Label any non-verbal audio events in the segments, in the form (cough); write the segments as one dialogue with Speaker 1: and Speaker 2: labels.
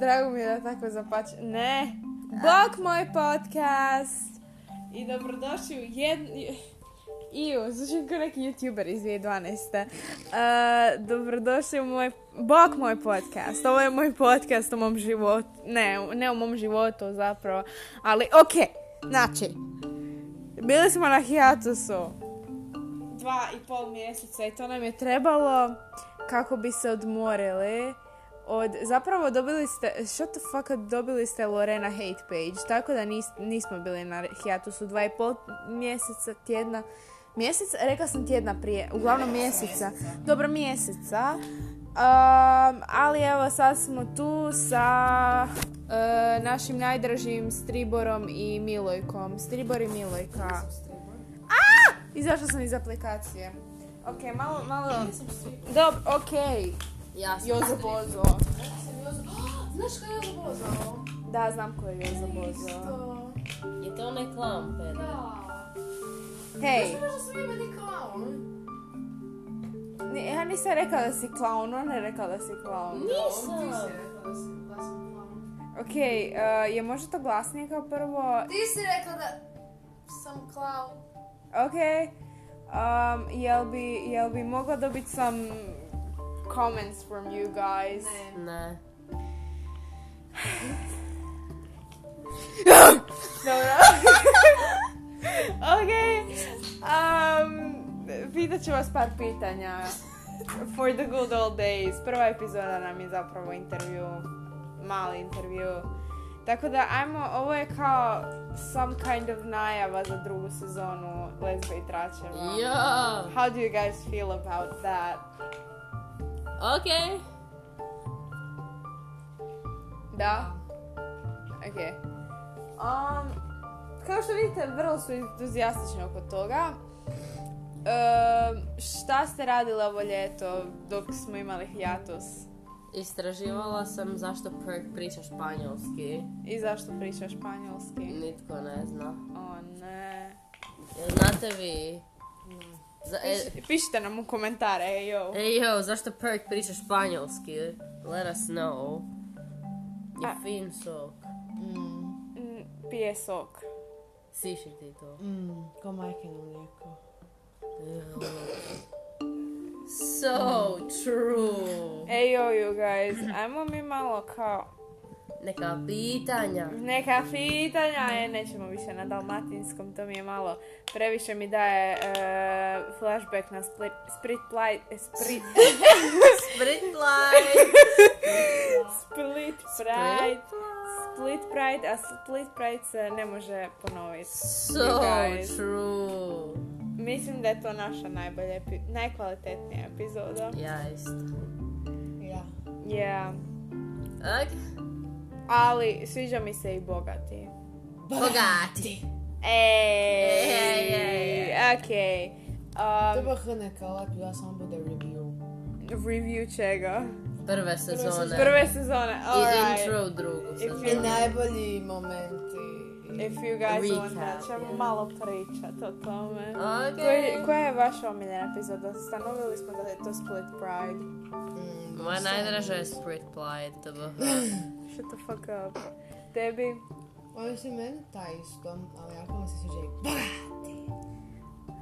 Speaker 1: Drago mi je da tako zapače. Ne. Bok moj podcast. I dobrodošli u jednu... Iju, zvučim kao neki youtuber iz 2012. Uh, dobrodošli u moj... Bok moj podcast. Ovo je moj podcast o mom životu. Ne, ne o mom životu zapravo. Ali okej. Znači, bili smo na hijatusu dva i pol mjeseca i to nam je trebalo kako bi se odmorili od, zapravo dobili ste, što the fuck, dobili ste Lorena hate page, tako da nis, nismo bili na hijatusu dva i pol mjeseca, tjedna, mjeseca, rekla sam tjedna prije, uglavnom mjeseca, dobro mjeseca, Um, ali evo sad smo tu sa uh, našim najdražim Striborom i Milojkom. Stribor i Milojka. A! Izašla sam iz aplikacije. Ok, malo, malo... Dobro, ok.
Speaker 2: Ja sam
Speaker 1: Jozo
Speaker 2: Stribor.
Speaker 1: Bozo.
Speaker 2: Ja sam Jozo- A, Znaš ko je Jozo Bozo?
Speaker 1: Da, znam ko je Jozo Bozo.
Speaker 2: Isto.
Speaker 3: Je to onaj klan, Pedro?
Speaker 2: Da.
Speaker 1: Hej,
Speaker 2: Zašto možda sve meni klaun?
Speaker 1: ni- ja nisam rekla da si klaun, ona je rekla da si klaun.
Speaker 3: Nisam.
Speaker 2: Ti si rekla da si da sam klaun.
Speaker 1: Ok, uh, je možda to glasnije kao prvo?
Speaker 2: Ti si rekla da sam klaun.
Speaker 1: Ok, um, jel bi, jel bi mogla dobiti some comments from you guys?
Speaker 2: Ne.
Speaker 3: Ne.
Speaker 1: Dobro. (laughs) ok, um, pitat ću vas par pitanja. For the good old days. Prva epizoda nam je zapravo intervju, mali intervju. Tako da, ajmo, ovo je kao some kind of najava za drugu sezonu Lesbe i Tračeva.
Speaker 3: Ja.
Speaker 1: How do you guys feel about that?
Speaker 3: Ok.
Speaker 1: Da. Ok. Um, kao što vidite, vrlo su entuzijastični oko toga. Um, šta ste radile ovo ljeto dok smo imali hijatus?
Speaker 3: Istraživala sam zašto Perk priča španjolski.
Speaker 1: I zašto priča španjolski?
Speaker 3: Nitko ne zna.
Speaker 1: O ne.
Speaker 3: Jel znate vi? Za, e,
Speaker 1: Piš- pišite nam u komentare, ej, yo.
Speaker 3: ej, yo, zašto Perk priča španjolski? Let us know. Je
Speaker 1: A-
Speaker 3: fin sok.
Speaker 4: Mm,
Speaker 1: Mm, Pije sok.
Speaker 3: Siši ti to.
Speaker 4: mm, ko majkino mlijeko.
Speaker 3: So true.
Speaker 1: Ej, yo, you guys. Ajmo mi malo kao
Speaker 3: Neka pitanja.
Speaker 1: Neka pitanja, e, nećemo više na dalmatinskom, to mi je malo, previše mi daje e, flashback na split, split light, e, split,
Speaker 3: Sprit light.
Speaker 1: split pride, split pride, a split pride se ne može ponoviti.
Speaker 3: So
Speaker 1: guys.
Speaker 3: true.
Speaker 1: Mislim da je to naša najbolja, epi- najkvalitetnija epizoda.
Speaker 3: Ja isto.
Speaker 4: Ja.
Speaker 1: Yeah.
Speaker 3: Ok.
Speaker 1: Ali sviđa mi se i bogati.
Speaker 3: Bogati. Ej, ej,
Speaker 1: Ej,
Speaker 3: ej.
Speaker 1: okej. Um,
Speaker 4: Treba h neka lepila samo bude review.
Speaker 1: review čega?
Speaker 3: Prve sezone.
Speaker 1: Prve sezone,
Speaker 3: I
Speaker 1: alright.
Speaker 3: intro drugu
Speaker 4: I
Speaker 3: sezonu.
Speaker 4: najbolji momenti. I-
Speaker 1: If you guys
Speaker 3: Recap,
Speaker 1: want da ćemo
Speaker 3: yeah.
Speaker 1: malo pričat o tome. Koji-
Speaker 3: Ok.
Speaker 1: koja je vaša omiljena epizoda? Stanovili smo da je to Split Pride.
Speaker 4: Mm,
Speaker 3: Moja najdraža je Sprit Plight, TBH.
Speaker 1: Shut the fuck up. Tebi?
Speaker 4: Oni su meni ta isto, ali jako mi se sviđa i bogati.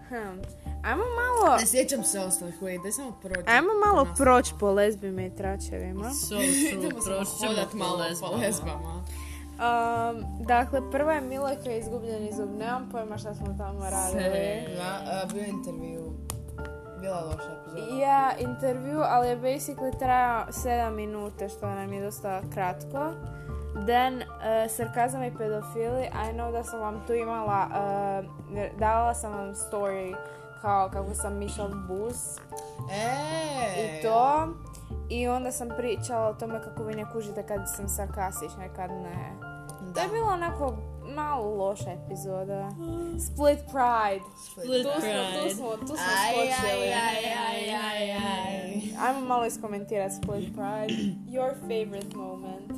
Speaker 1: Hm. Ajmo malo...
Speaker 4: Ne sjećam se ostalih koji, daj samo prođe.
Speaker 1: Ajmo malo
Speaker 4: Nas-
Speaker 1: proć po lezbima i tračevima.
Speaker 4: (laughs)
Speaker 3: So
Speaker 4: Idemo
Speaker 3: true,
Speaker 4: samo
Speaker 3: proći ćemo
Speaker 4: hodat malo po lesbama.
Speaker 1: Um, dakle, prva je Milojka izgubljen iz Nemam pojma šta smo tamo radili.
Speaker 3: Se.
Speaker 4: Da, a, e, bio je intervju. Bila je loša epizoda.
Speaker 1: Ja, intervju, ali je basically trajao 7 minute, što nam je dosta kratko. Then, eh, sarkazam i pedofili, I know da sam vam tu imala, eh, davala sam vam story kao kako sam Michelle Bus
Speaker 4: Eee!
Speaker 1: i to. I onda sam pričala o tome kako vi ne kužite kad sam sarkastična i kad ne. To
Speaker 4: Da.
Speaker 1: je bila onako malo loša epizoda. Split Pride. Tu smo, tu smo, tu smo
Speaker 4: Aj,
Speaker 1: skočili.
Speaker 4: aj, aj, aj, aj, aj.
Speaker 1: Ajmo malo iskomentirati Split Pride. Your favorite moment.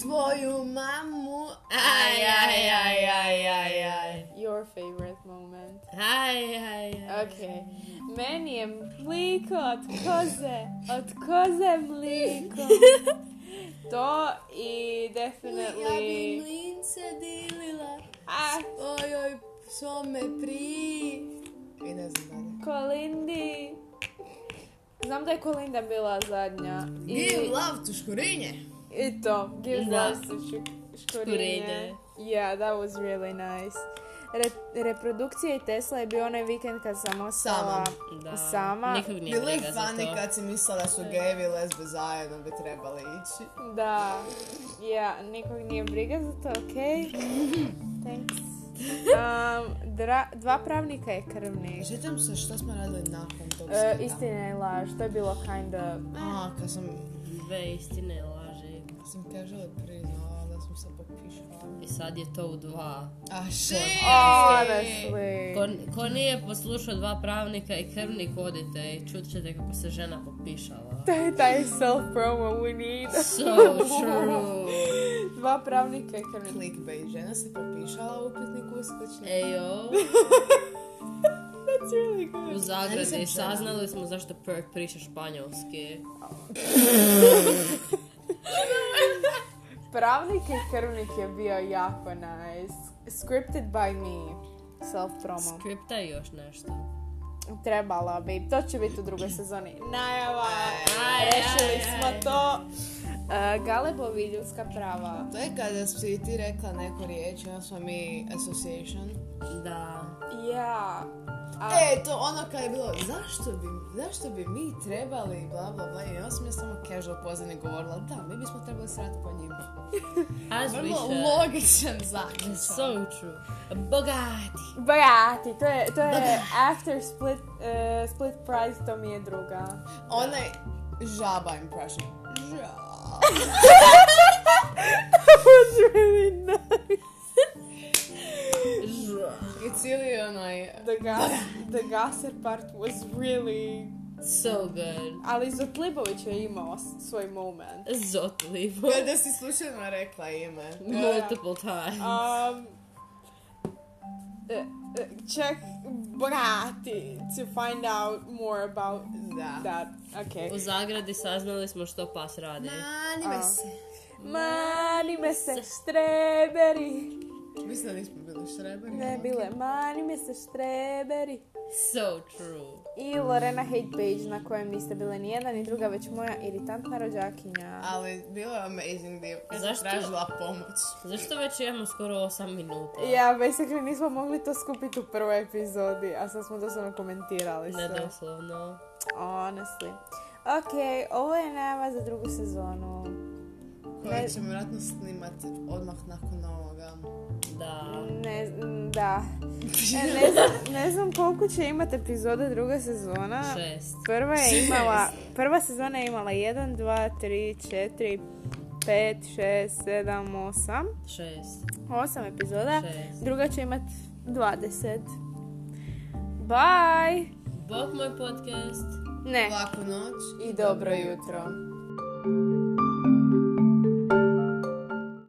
Speaker 4: Tvoju mamu. Aj, aj, aj, aj, aj, aj.
Speaker 1: Your favorite moment.
Speaker 3: Aj, aj, aj.
Speaker 1: Ok. Meni je mliko od koze. Od koze mliko. To i
Speaker 4: Ja bi
Speaker 1: definitely...
Speaker 4: mlince dilila
Speaker 1: Ah,
Speaker 4: svojoj svome pri... I ne znam dalje.
Speaker 1: Kolindi. Znam da je Kolinda bila zadnja. I,
Speaker 4: Give love to škurinje.
Speaker 1: i to. Give
Speaker 3: Da.
Speaker 1: love to šu- škurinje.
Speaker 3: Škurinje.
Speaker 1: Yeah, that was really nice. Re- reprodukcija i Tesla je bio onaj vikend kad sam ostala
Speaker 3: Da.
Speaker 1: sama.
Speaker 3: Nikog nije
Speaker 4: Bilo je
Speaker 3: briga za
Speaker 4: funny
Speaker 3: to.
Speaker 4: kad si mislila da su gevi i lesbe zajedno bi trebali ići.
Speaker 1: Da, ja, nikog nije briga za to, ok? Thanks. Um, dra- dva pravnika je krvni.
Speaker 4: Sjećam se što smo radili nakon tog
Speaker 1: E,
Speaker 4: skida.
Speaker 1: istina je laž, to je bilo kind of...
Speaker 4: A, kad sam,
Speaker 3: Dve istine laži.
Speaker 4: kad sam casually priznala da sam se popišala.
Speaker 3: I sad je to u dva.
Speaker 4: A
Speaker 1: Honestly.
Speaker 3: Ko, ko nije poslušao dva pravnika i krvnik odite i čut ćete kako se žena popišala.
Speaker 1: To je (laughs) taj self-promo we need.
Speaker 3: So true.
Speaker 1: Dva pravnika je krvni.
Speaker 4: Clickbait, žena se popišala u upitniku uskočne.
Speaker 3: Ejo,
Speaker 1: That's really good.
Speaker 3: u
Speaker 4: Ja nisam
Speaker 3: zagradi
Speaker 4: žena.
Speaker 3: saznali smo zašto Perk priča španjolski.
Speaker 1: Pravnik je krvnik je bio jako nice. Scripted by me. Self-promo.
Speaker 3: Skripta je još nešto.
Speaker 1: Trebala bi. To će biti u drugoj sezoni. Najava! Rešili smo to. Uh, Galebovi i ljudska prava.
Speaker 4: To je kada si ti rekla neku riječ, onda smo mi association.
Speaker 3: Da.
Speaker 1: Ja. A,
Speaker 4: E, to ono kad je bilo, zašto bi, zašto bi mi trebali, bla, bla, bla, i onda sam ja samo casual pozivne govorila, ali da, mi bismo trebali srati po njima.
Speaker 3: As we
Speaker 4: Vrlo
Speaker 3: should.
Speaker 4: logičan zaključak.
Speaker 3: So true. Bogati.
Speaker 1: Bogati, to je, to (laughs) je after split, uh, split price, to mi je (laughs) druga.
Speaker 4: Onaj žaba impression. Žaba.
Speaker 1: That was really nice.
Speaker 4: I cijeli onaj...
Speaker 1: The gas, the gasser part was really...
Speaker 3: So good.
Speaker 1: Ali Zotlibović je imao s- svoj moment.
Speaker 3: Zotlivo.
Speaker 4: Kada si slučajno rekla ime.
Speaker 3: Multiple times.
Speaker 1: Um, e, e, check Bogati to find out more about
Speaker 4: Da.
Speaker 1: that. Okay.
Speaker 3: U zagradi saznali smo što pas radi.
Speaker 4: Anime se.
Speaker 1: Mani me se štreberi.
Speaker 4: Mislim da nismo bili šreberi.
Speaker 1: Ne bile, mani me se štreberi.
Speaker 3: So true.
Speaker 1: I Lorena Hate Page na kojem niste bile ni jedan ni druga, već moja iritantna rođakinja.
Speaker 4: Ali bilo je amazing dio. Ja sam
Speaker 3: Zašto?
Speaker 4: tražila pomoć.
Speaker 3: Zašto već imamo skoro 8 minuta?
Speaker 1: Ja, basically nismo mogli to skupiti u prvoj epizodi, a sad smo doslovno komentirali sve.
Speaker 3: Nedoslovno.
Speaker 1: Honestly. Ok, ovo je najava za drugu sezonu. Ne-
Speaker 4: Koji ćemo vjerojatno snimati odmah nakon ovoga.
Speaker 3: Da.
Speaker 1: Ne, mm, da. E, ne, znam, ne znam koliko će imati epizoda druga sezona.
Speaker 3: Šest.
Speaker 1: Prva je imala, prva sezona je imala 1, 2, 3, 4, 5, 6, 7, 8.
Speaker 3: Šest.
Speaker 1: 8 epizoda.
Speaker 3: Šest.
Speaker 1: Druga će imati 20. Bye!
Speaker 3: Bog moj podcast.
Speaker 1: Ne.
Speaker 4: Laku noć.
Speaker 1: I dobro jutro.